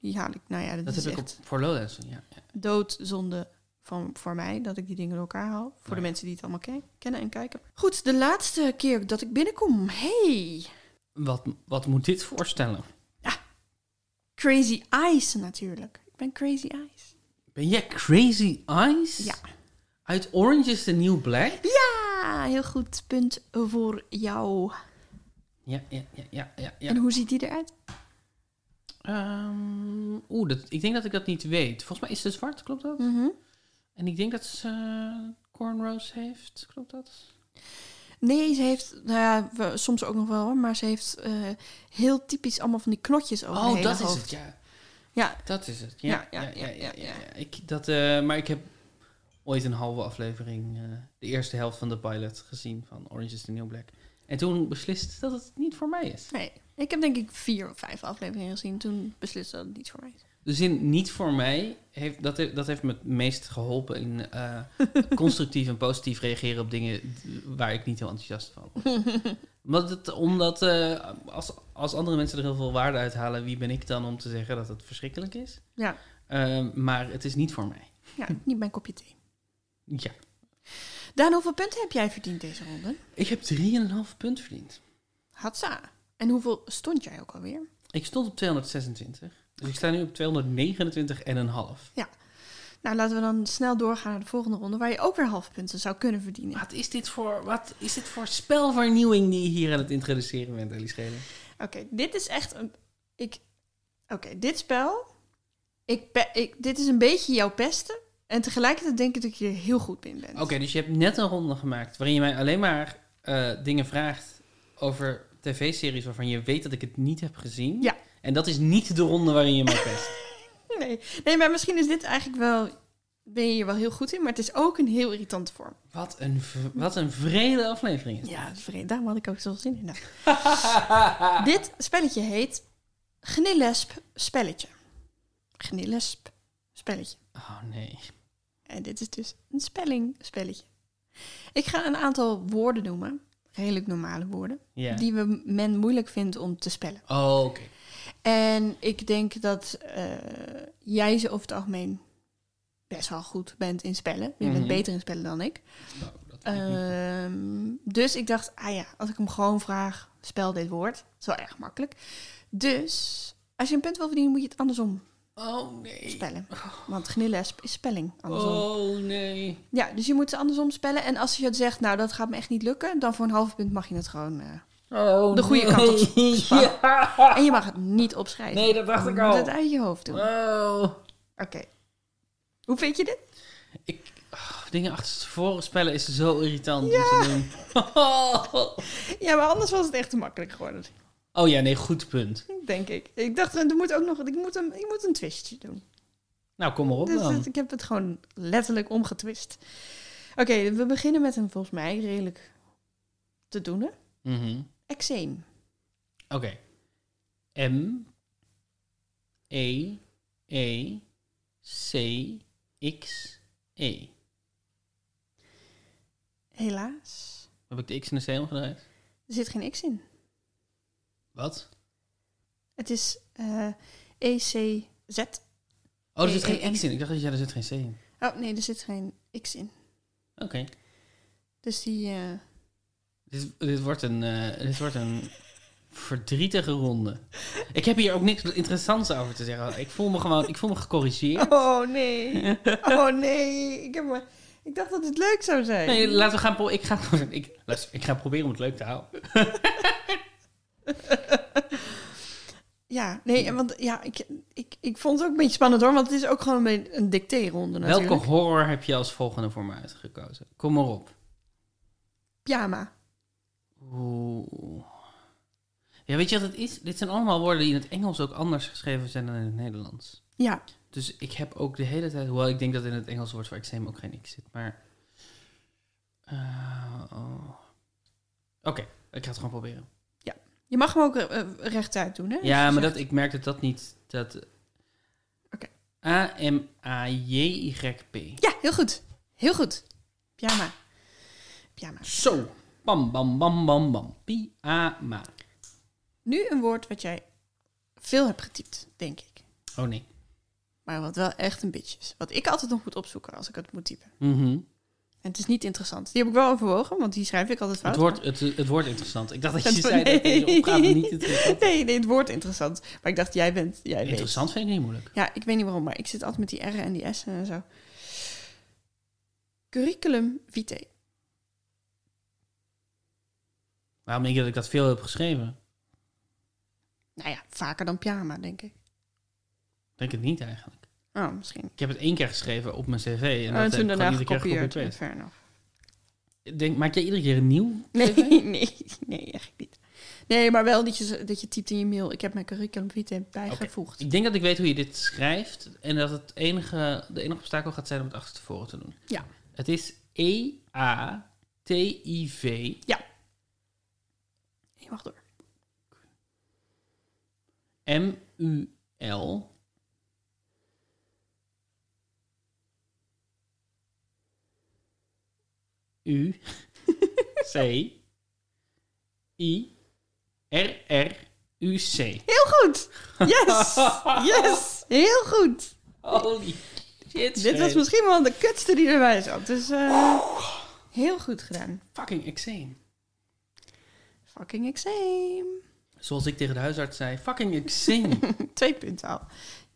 Die haal ik, nou ja, dat, Dat is heb ik echt op voor Lowlands. Ja. doodzonde van, voor mij dat ik die dingen door elkaar haal. Voor Ja. de mensen die het allemaal ke- kennen en kijken. Goed, de laatste keer dat ik binnenkom. Hey, Wat, wat moet dit voorstellen? Crazy Eyes natuurlijk. Ik ben Crazy Eyes. Ben jij Crazy Eyes? Ja. Uit Orange is the New Black? Ja, heel goed punt voor jou. Ja, ja, ja, ja, ja. ja. En hoe ziet die eruit? Ehm, Oeh, dat, ik denk dat ik dat niet weet. Volgens mij is ze zwart, klopt dat? En ik denk dat ze eh, cornrows heeft, klopt dat? Nee, ze heeft, nou ja, we- soms ook nog wel, hoor, maar ze heeft eh, heel typisch allemaal van die knotjes over het Oh, hele dat is hoofd. het, ja. Ja, Dat is het. Ja, ja, ja, Ja, ja. ja, ja, ja, ja, ja. ja. Ik, dat, eh, maar ik heb ooit een halve aflevering, eh, de eerste helft van de pilot gezien van Orange is the New Black. En toen beslist dat het niet voor mij is. nee. Ik heb denk ik vier of vijf afleveringen gezien. Toen besliste dat het niet voor mij is. De zin niet voor mij, heeft, dat, he- dat heeft me het meest geholpen in eh, constructief en positief reageren op dingen d- waar ik niet heel enthousiast van word. omdat het, omdat eh, als, als andere mensen er heel veel waarde uit halen, wie ben ik dan om te zeggen dat het verschrikkelijk is? Ja. Eh, maar het is niet voor mij. Ja, niet mijn kopje thee. Ja. Daan, hoeveel punten heb jij verdiend deze ronde? Ik heb 3,5 punt verdiend. Hatsa. En hoeveel stond jij ook alweer? Ik stond op 226. Dus ik sta nu op 229 en een half. Nou, laten we dan snel doorgaan naar de volgende ronde, waar je ook weer half punten zou kunnen verdienen. Wat is dit voor, wat is dit voor spelvernieuwing die je hier aan het introduceren bent, Ellie Schelen? Oké, dit is echt een. Ik. Oké, dit spel. Ik, pe- ik, dit is een beetje jouw pesten. En tegelijkertijd denk ik dat je er heel goed in bent. Oké, dus je hebt net een ronde gemaakt waarin je mij alleen maar eh, dingen vraagt over tv-series waarvan je weet dat ik het niet heb gezien. Ja. En dat is niet de ronde waarin je mij pest. Nee. nee, maar misschien is dit eigenlijk wel... Ben je hier wel heel goed in, maar het is ook een heel irritante vorm. Wat een, v- wat een vrede aflevering is. Ja, vreemd. Daarom had ik ook zoveel zin in. Nou. Ah. Dit spelletje heet Gnillesp Spelletje. Gnillesp Spelletje. Oh nee. En dit is dus een spelling spelletje. Ik ga een aantal woorden noemen. Redelijk normale woorden. Ja. Die we, men moeilijk vindt om te spellen. Oh, oké. En ik denk dat eh, jij ze over het algemeen best wel goed bent in spellen. Je Mhm. bent beter in spellen dan ik. Nou, dat weet ik niet. Ehm, dus ik dacht, ah ja, als ik hem gewoon vraag, spel dit woord. Dat is wel erg makkelijk. Dus als je een punt wil verdienen, moet je het andersom Oh nee. spellen. Want gnillesp is spelling andersom. Oh nee. Ja, dus je moet ze andersom spellen. En als je het zegt, nou dat gaat me echt niet lukken, dan voor een half punt mag je het gewoon. eh, Oh, De goede nee. kant op. Ja. en je mag het niet opschrijven. Nee, dat dacht je ik moet het al. uit je hoofd doen. Oké. Oh. Hoe vind je dit? Ik, oh, dingen achter tevoren spellen is zo irritant om te doen. Ja, maar anders was het echt te makkelijk geworden, Oh ja, nee, goed punt. denk ik. Ik dacht, er moet ook nog, ik moet een, ik moet een twistje doen. Nou, kom maar op Dus dan. het- ik heb het gewoon letterlijk omgetwist. Oké, we beginnen met een volgens mij redelijk te doen. Mhm. Eczeem. Oké. M E E C X E. Helaas. Heb ik de X en de C omgedraaid? Er zit geen X in. Wat? Het is eh ECZ. Oh, er zit E, E, geen M. X in. Ik dacht dat ja, er zit geen C in. Oh nee, er zit geen X in. Oké. Dus die. eh, Dit, dit, wordt een, eh, dit wordt een verdrietige ronde. Ik heb hier ook niks interessants over te zeggen. Ik voel me gewoon ik voel me gecorrigeerd. Oh nee. Oh nee. Ik, heb maar... ik dacht dat het leuk zou zijn. Nee, laten we gaan pro- ik, ga, ik, luister, ik ga proberen om het leuk te houden. Ja, nee, en want ja, ik, ik, ik vond het ook een beetje spannend hoor, want het is ook gewoon een, een dicteeronde natuurlijk. Welke horror heb je als volgende voor me uitgekozen? Kom maar op. Pyjama. Oeh. Ja, weet je wat het is? Dit zijn allemaal woorden die in het Engels ook anders geschreven zijn dan in het Nederlands. Ja. Dus ik heb ook de hele tijd, hoewel ik denk dat in het Engels woord voor eczeem ook geen x zit, maar. Eh, oh. Oké, ik ga het gewoon proberen. Je mag hem ook eh, eh, rechtuit doen, hè? Ja, Dus maar je dat, ik merk dat dat niet. Dat... Oké. A-M-A-J-Y-P. Ja, heel goed. Heel goed. Pyjama. Pyjama. Zo. Bam, bam, bam, bam, bam. Pi-a-ma. Nu een woord wat jij veel hebt getypt, denk ik. Oh nee. Maar wat wel echt een beetje is. Wat ik altijd nog moet opzoeken als ik het moet typen. Mhm. En het is niet interessant. Die heb ik wel overwogen, want die schrijf ik altijd fout. Het wordt, het, het wordt interessant. Ik dacht dat Het je wo- zei dat deze nee. opgave niet interessant is. Nee, nee, het woord interessant. Maar ik dacht, jij bent... Jij weet. Interessant vind ik niet moeilijk. Ja, ik weet niet waarom, maar ik zit altijd met die R'en en die S'en en zo. Curriculum vitae. Waarom denk je dat ik dat veel heb geschreven? Nou ja, vaker dan pyjama, denk ik. Ik denk het niet eigenlijk. Oh, misschien. Ik heb het één keer geschreven op mijn cv. En, Oh, en dat heb ik gewoon toen daarna iedere keer gekopieerd. gekopieerd. Fair enough. Ik Denk, maak jij iedere keer een nieuw? Nee, nee, nee, echt niet. Nee, maar wel dat je, dat je typt in je mail. Ik heb mijn curriculum vitae bijgevoegd. Ik denk dat ik weet hoe je dit schrijft. En dat het enige, de enige obstakel gaat zijn om het achter tevoren te doen. Ja. Het is E E-A-T-I-V. Je mag door. M-U-L. U. C. I. R. R. U. C. Heel goed! Yes! Yes! Heel goed! Holy shit. Dit was Sven. misschien wel de kutste die erbij zat. Dus eh, heel goed gedaan. fucking eczeem. Fucking exam. Zoals ik tegen de huisarts zei, fucking eczeem. Twee punten al.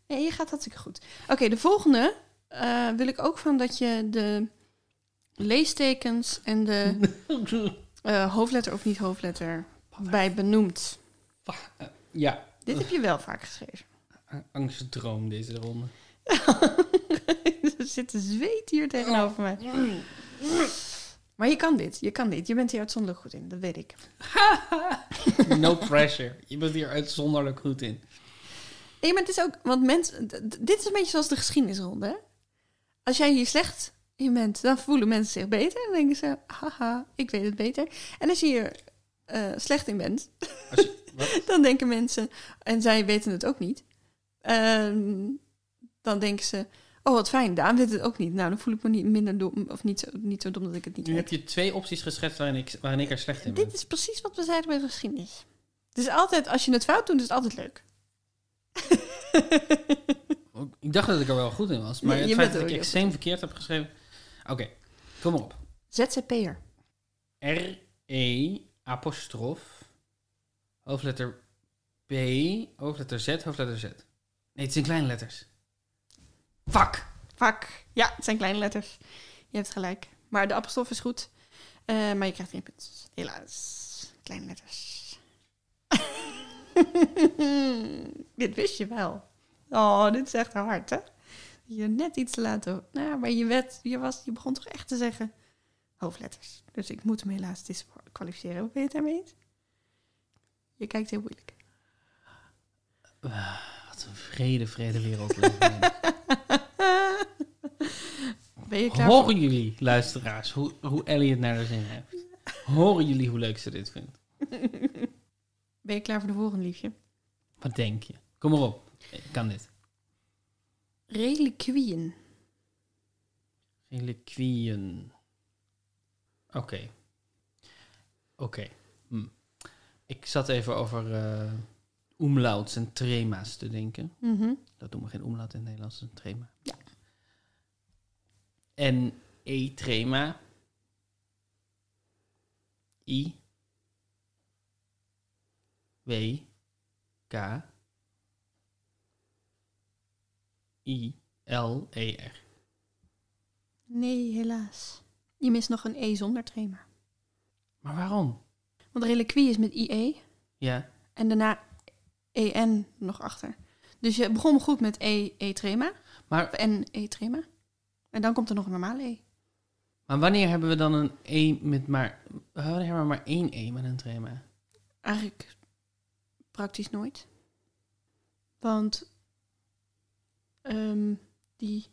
Nee, je gaat hartstikke goed. Oké, de volgende eh, wil ik ook van dat je de leestekens en de eh, hoofdletter of niet hoofdletter bij benoemt. ja, Dit heb je wel vaak geschreven. angstdroom deze ronde. er zit een zweet hier tegenover mij. Maar je kan dit, je kan dit. Je bent hier uitzonderlijk goed in, dat weet ik. No pressure. Je bent hier uitzonderlijk goed in. Nee, maar het is ook, want mensen, d- d- dit is een beetje zoals de geschiedenisronde. hè? Als jij hier slecht in bent, dan voelen mensen zich beter. Dan denken ze, haha, ik weet het beter. En als je hier eh, slecht in bent, Als je, wat? dan denken mensen, en zij weten het ook niet, ehm, dan denken ze, oh wat fijn, Daan weet het ook niet. Nou, dan voel ik me niet minder dom, of niet zo, niet zo dom dat ik het niet Nu heb weet. je twee opties geschetst waarin ik, waarin ik er slecht in ben. Dit is precies wat we zeiden bij de geschiedenis. Het is altijd, als je het fout doet, is het altijd leuk. Ik dacht dat ik er wel goed in was, maar Nee, het je feit bent dat ik er ook extreem verkeerd heb geschreven... Oké, kom maar op. ZZP'er. R-E apostrof hoofdletter B, hoofdletter Z, hoofdletter Z. Nee, het zijn kleine letters. Fuck! Vak. Ja, het zijn kleine letters. Je hebt gelijk. Maar de apostrof is goed. Eh, maar je krijgt geen punt. Helaas. Kleine letters. dit wist je wel. Oh, dit is echt hard, hè? Je net iets te laat over. Nou, maar je, werd, je, was, je begon toch echt te zeggen hoofdletters. Dus ik moet hem helaas disqualificeren. Hoe ben je het daarmee eens? Je kijkt heel moeilijk. Wat een vrede, vrede wereld. leven we in. Ben je klaar? voor- Horen jullie, luisteraars, hoe, hoe Elliot naar haar zin heeft? Horen jullie hoe leuk ze dit vindt? Ben je klaar voor de volgende, liefje? Wat denk je? Kom maar op. Ik kan dit. Reliquieën. Reliquieën. Oké. Oké. Hm. Ik zat even over eh umlauts en trema's te denken. Mhm. Dat doen we geen omlaat in het Nederlands, dat is een trema. Ja. En E-trema. I. W. K. I. L. E. R. Nee, helaas. Je mist nog een E zonder trema. Maar waarom? Want reliquie is met IE Ja. en daarna EN nog achter. Dus je begon goed met E, E trema. Maar- En E trema. En dan komt er nog een normale E. Maar wanneer hebben we dan een E met maar... Wanneer hebben we maar één E met een trema? Eigenlijk praktisch nooit. Want ehm, die,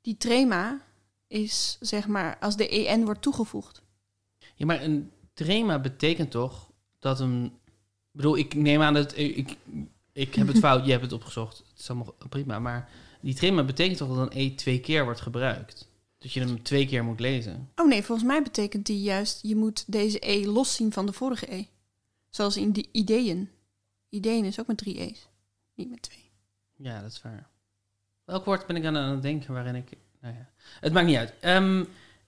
die trema is zeg maar als de EN wordt toegevoegd. Ja, maar een trema betekent toch dat een... Ik bedoel, ik neem aan dat... eh, Ik, ik heb het fout, je hebt het opgezocht. Het is allemaal prima. Maar die trema betekent toch dat een E twee keer wordt gebruikt. Dat je hem twee keer moet lezen. Oh nee, volgens mij betekent die juist, je moet deze E loszien van de vorige E. Zoals in die ideeën. Ideeën is ook met drie E's, niet met twee. Ja, dat is waar. Welk woord ben ik aan, aan het denken waarin ik... Nou ja, het maakt niet uit. Ehm,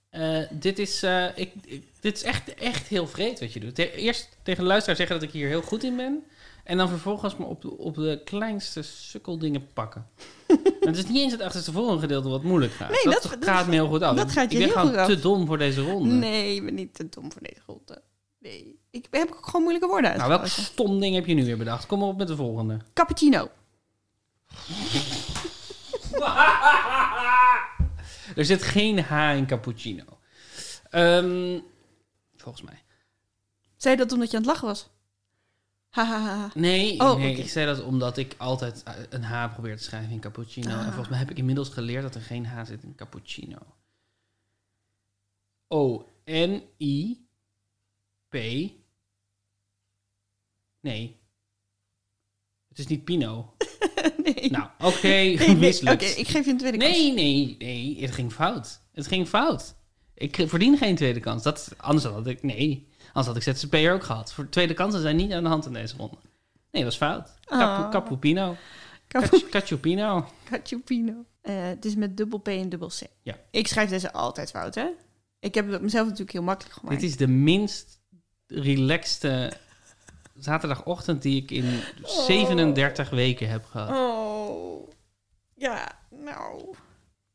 eh, dit, is, eh, ik, ik- dit is echt, echt heel vreed wat je doet. Te- eerst tegen de luisteraar zeggen dat ik hier heel goed in ben. En dan vervolgens me op, de- op de kleinste sukkeldingen pakken. En het is niet eens het achterstevoren gedeelte wat moeilijk gaat. Nee, dat, dat- dat- gaat me heel goed af. dat gaat je ik ben heel gewoon goed af. te dom voor deze ronde. Nee, ik ben niet te dom voor deze ronde. Nee, ik heb ook gewoon moeilijke woorden Nou, welk uitgekozen. stom ding heb je nu weer bedacht? Kom maar op met de volgende. Cappuccino. Er zit geen H in cappuccino. Ehm, volgens mij. Zei je dat omdat je aan het lachen was? Hahaha. Nee, Oh, nee oké. ik zei dat omdat ik altijd eh, een H probeer te schrijven in cappuccino. En Ah. volgens mij heb ik inmiddels geleerd dat er geen H zit in cappuccino. O-N-I-P. Nee. Het is niet Pino. nee. nou, oké, Nee, nee. Oké, mislukt. ik geef je een tweede kans. Nee, nee, nee, het ging fout. Het ging fout. Ik k- verdien geen tweede kans. Dat, anders had ik, nee, anders had ik ZZP'er ook gehad. Voor tweede kansen zijn niet aan de hand in deze ronde. Nee, dat is fout. Ah. Capupino. Cappu- Cacciupino. Cacciupino. Eh, het is met dubbel P en dubbel C. Ja. Ik schrijf deze altijd fout, hè? Ik heb het mezelf natuurlijk heel makkelijk gemaakt. Dit is de minst relaxte zaterdagochtend die ik in 37 weken heb gehad. Oh. Ja, nou.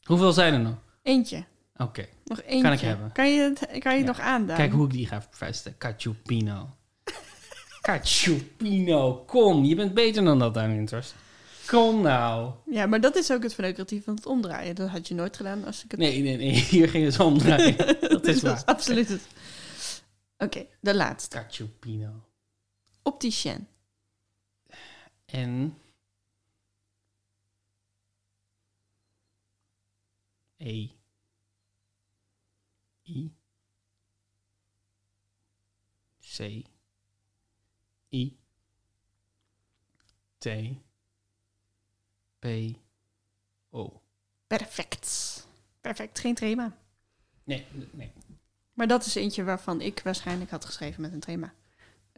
Hoeveel zijn er nog? Eentje. Oké, Nog eentje. Kan ik hebben. Kan je het, kan je Ja. het nog aandaan? kijk hoe ik die ga verpesten. Cacciupino. Cacciupino, kom. Je bent beter dan dat aan Winters. Kom nou. Ja, maar dat is ook het verneukeratief van het omdraaien. Dat had je nooit gedaan als ik het... Nee, nee, nee. Hier ging het omdraaien. dat is waar. absoluut het. Oké, de laatste. Caciopino. Opticien. En... E. I. C. I. T. P. O. Perfect. Perfect, geen thema. Nee, nee. Maar dat is eentje waarvan ik waarschijnlijk had geschreven met een thema.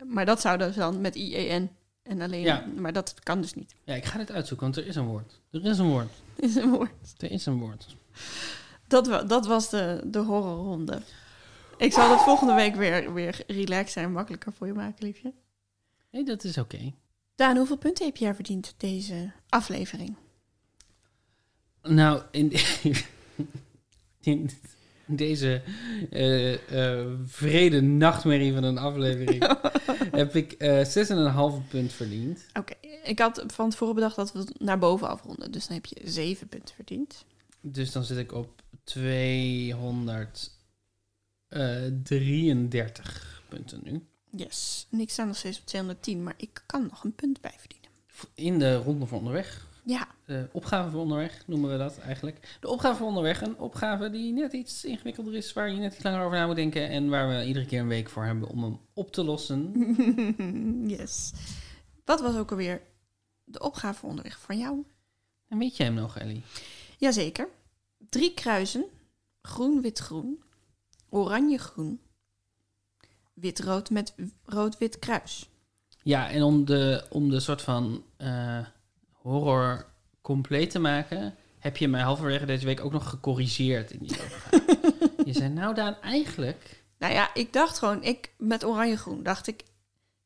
Maar dat zou dus dan met IEN en alleen... Ja. Maar dat kan dus niet. Ja, ik ga dit uitzoeken, want er is een woord. Er is een woord. Is een woord. Er is een woord. Dat, wa- dat was de, de horrorronde. Ik zal dat volgende week weer, weer relaxer en makkelijker voor je maken, liefje. Nee, dat is oké. Daan, hoeveel punten heb jij verdiend deze aflevering? Nou, in, in deze eh, eh, vrede nachtmerrie van een aflevering heb ik eh 6,5 punt verdiend. Oké, ik had van tevoren bedacht dat we het naar boven afronden. Dus dan heb je zeven punten verdiend. Dus dan zit ik op 233 eh, punten nu. Yes. En ik sta nog steeds op 210, maar ik kan nog een punt bijverdienen. In de ronde van onderweg. Ja, eh opgave voor onderweg noemen we dat eigenlijk. De opgave voor onderweg. Een opgave die net iets ingewikkelder is, waar je net iets langer over na moet denken. En waar we iedere keer een week voor hebben om hem op te lossen. yes. Wat was ook alweer de opgave voor onderweg van jou? En weet jij hem nog, Ellie? Jazeker. Drie kruisen. Groen, wit, groen. Oranje, groen. Wit, rood met w- rood, wit kruis. Ja, en om de, om de soort van eh, horror compleet te maken, heb je mij halverwege deze week ook nog gecorrigeerd in die overgave. je zei, nou Daan, eigenlijk... Nou ja, ik dacht gewoon, ik met oranje, groen, dacht ik,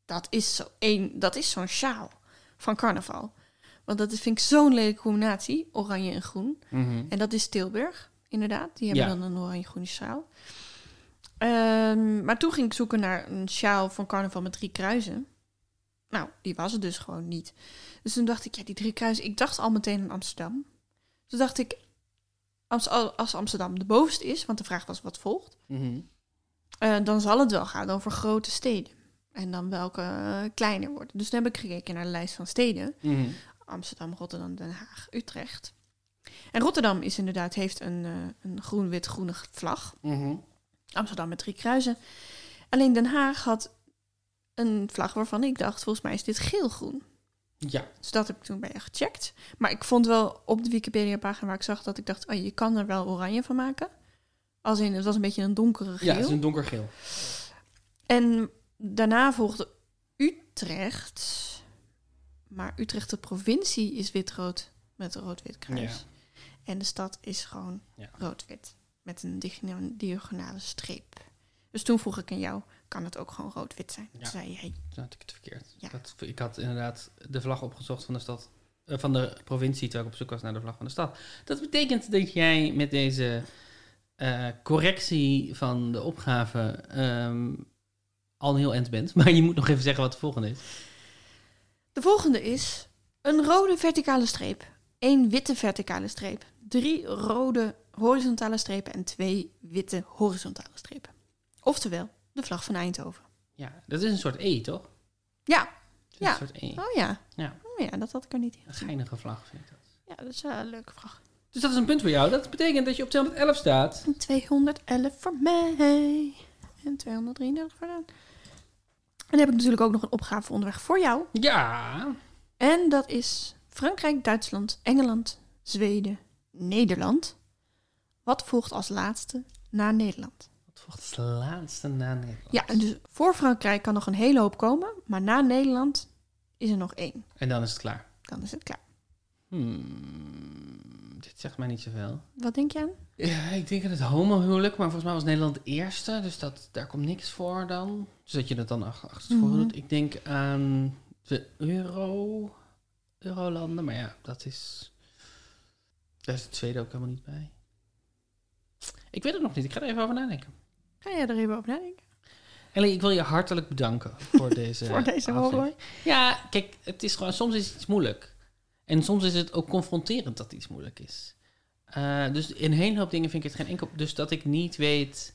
dat is zo één, dat is zo'n sjaal van carnaval. Want dat is- vind ik zo'n lelijke combinatie, oranje en groen. Mhm, En dat is Tilburg, inderdaad. Die hebben Ja. dan een oranje-groene sjaal. Ehm, maar toen ging ik zoeken naar een sjaal van carnaval met drie kruisen. Nou, die was er dus gewoon niet. Dus toen dacht ik, ja, die drie kruisen... Ik dacht al meteen aan Amsterdam. Toen dacht ik, Amst- als Amsterdam de bovenste is... want de vraag was wat volgt... Mhm. eh, dan zal het wel gaan over grote steden. En dan welke eh, kleiner worden. Dus toen heb ik gekeken naar de lijst van steden... Mhm. Amsterdam, Rotterdam, Den Haag, Utrecht. En Rotterdam is inderdaad, heeft een, eh, een groen-wit-groene vlag. Mhm. Amsterdam met drie kruisen. Alleen Den Haag had een vlag waarvan ik dacht, volgens mij is dit geel-groen. Ja, Dus dat heb ik toen bij je gecheckt. Maar ik vond wel op de Wikipedia-pagina waar ik zag dat ik dacht, oh, je kan er wel oranje van maken. Als in, het was een beetje een donkere geel. ja, het is een donkergeel. En daarna volgde Utrecht. Maar Utrecht, de provincie, is wit-rood met een rood-wit kruis. En de stad is gewoon Ja. rood-wit met een digna- diagonale streep. Dus toen vroeg ik aan jou, kan het ook gewoon rood-wit zijn? Ja. Toen zei jij, Toen had ik het verkeerd. Ja. Dat, ik had inderdaad de vlag opgezocht van de stad... eh, van de provincie, terwijl ik op zoek was naar de vlag van de stad. Dat betekent dat jij met deze eh, correctie van de opgave... ehm, al een heel eind bent. Maar je moet nog even zeggen wat de volgende is. de volgende is een rode verticale streep, één witte verticale streep, drie rode horizontale strepen en twee witte horizontale strepen. Oftewel, de vlag van Eindhoven. Ja, dat is een soort E, toch? Ja, Het is Ja. Een soort E. Oh ja. Ja. Oh ja, dat had ik er niet in Een gezien. geinige vlag, vind ik dat. Ja, dat is wel een leuke vraag. Dus dat is een punt voor jou. Dat betekent dat je op 211 staat. 211 voor mij. En 233 voor Daan. En dan heb ik natuurlijk ook nog een opgave onderweg voor jou. Ja. En dat is Frankrijk, Duitsland, Engeland, Zweden, Nederland. Wat volgt als laatste na Nederland? Wat volgt als laatste na Nederland? Ja, en dus voor Frankrijk kan nog een hele hoop komen. Maar na Nederland is er nog één. En dan is het klaar. Dan is het klaar. Hmm, dit zegt mij niet zoveel. Wat denk je aan? Ja, ik denk aan het homohuwelijk, maar volgens mij was Nederland de eerste. Dus dat, daar komt niks voor dan. Dus dat je dat dan ach- achter tevoren Mhm. doet. Ik denk aan de euro, eurolanden. Maar ja, dat is... Daar is het tweede ook helemaal niet bij. Ik weet het nog niet. Ik ga er even over nadenken. Ga jij er even over nadenken? Ellie, ik wil je hartelijk bedanken voor deze voor deze aflevering. horror. Ja, kijk, het is gewoon, soms is iets moeilijk. En soms is het ook confronterend dat iets moeilijk is. Eh, dus in een hele hoop dingen vind ik het geen enkel... Dus dat ik niet weet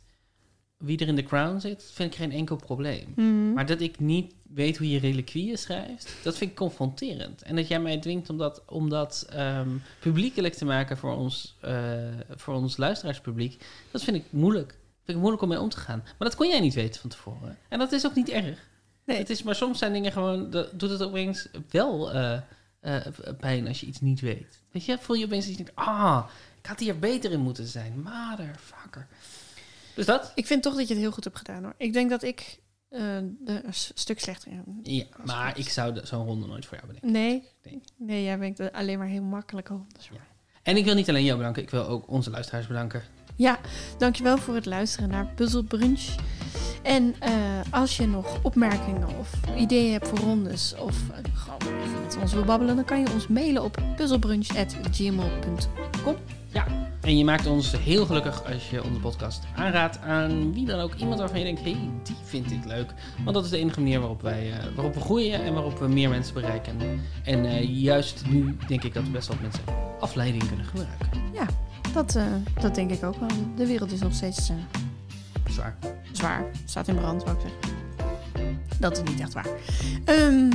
wie er in de crown zit, vind ik geen enkel probleem. Mhm. Maar dat ik niet weet hoe je reliquieën schrijft, dat vind ik confronterend. En dat jij mij dwingt om dat, om dat ehm, publiekelijk te maken voor ons, eh, voor ons luisteraarspubliek, dat vind ik moeilijk. Vind ik moeilijk om mee om te gaan. Maar dat kon jij niet weten van tevoren. En dat is ook niet erg. Nee. Het is, maar soms zijn dingen gewoon, dat doet het opeens wel eh, eh, pijn als je iets niet weet. Weet je, voel je opeens dat je denkt, ah, ik had hier beter in moeten zijn. Motherfucker. Dus dat? Ik vind toch dat je het heel goed hebt gedaan hoor. Ik denk dat ik eh, er een s- stuk slechter in. Ja, maar ik zou de- zo'n ronde nooit voor jou bedenken. Nee, Nee. nee, jij bent er alleen maar heel makkelijk op. dus Dat is waar. En ik wil niet alleen jou bedanken, ik wil ook onze luisteraars bedanken. Ja, dankjewel voor het luisteren naar Puzzle Brunch. En eh, als je nog opmerkingen of ideeën hebt voor rondes of eh, gewoon even met ons wil babbelen, dan kan je ons mailen op puzzlebrunch.gmail.com. En je maakt ons heel gelukkig als je onze podcast aanraadt aan wie dan ook. Iemand waarvan je denkt, hé, hey, die vind ik leuk. Want dat is de enige manier waarop, wij, eh, waarop we groeien en waarop we meer mensen bereiken. En eh, juist nu denk ik dat we best wel mensen afleiding kunnen gebruiken. Dat, eh, dat denk ik ook wel. De wereld is nog steeds eh, Zwaar. zwaar. Staat in brand, zou ik zeggen. Dat is niet echt waar. Ehm,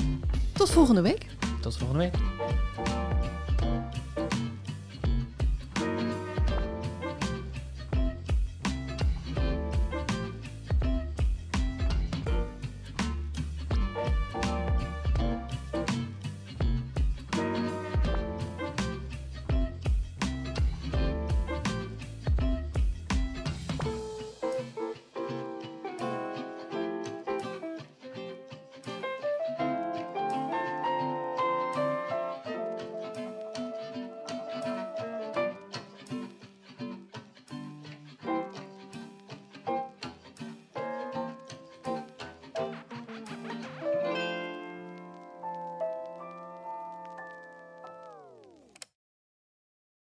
tot volgende week. Tot volgende week.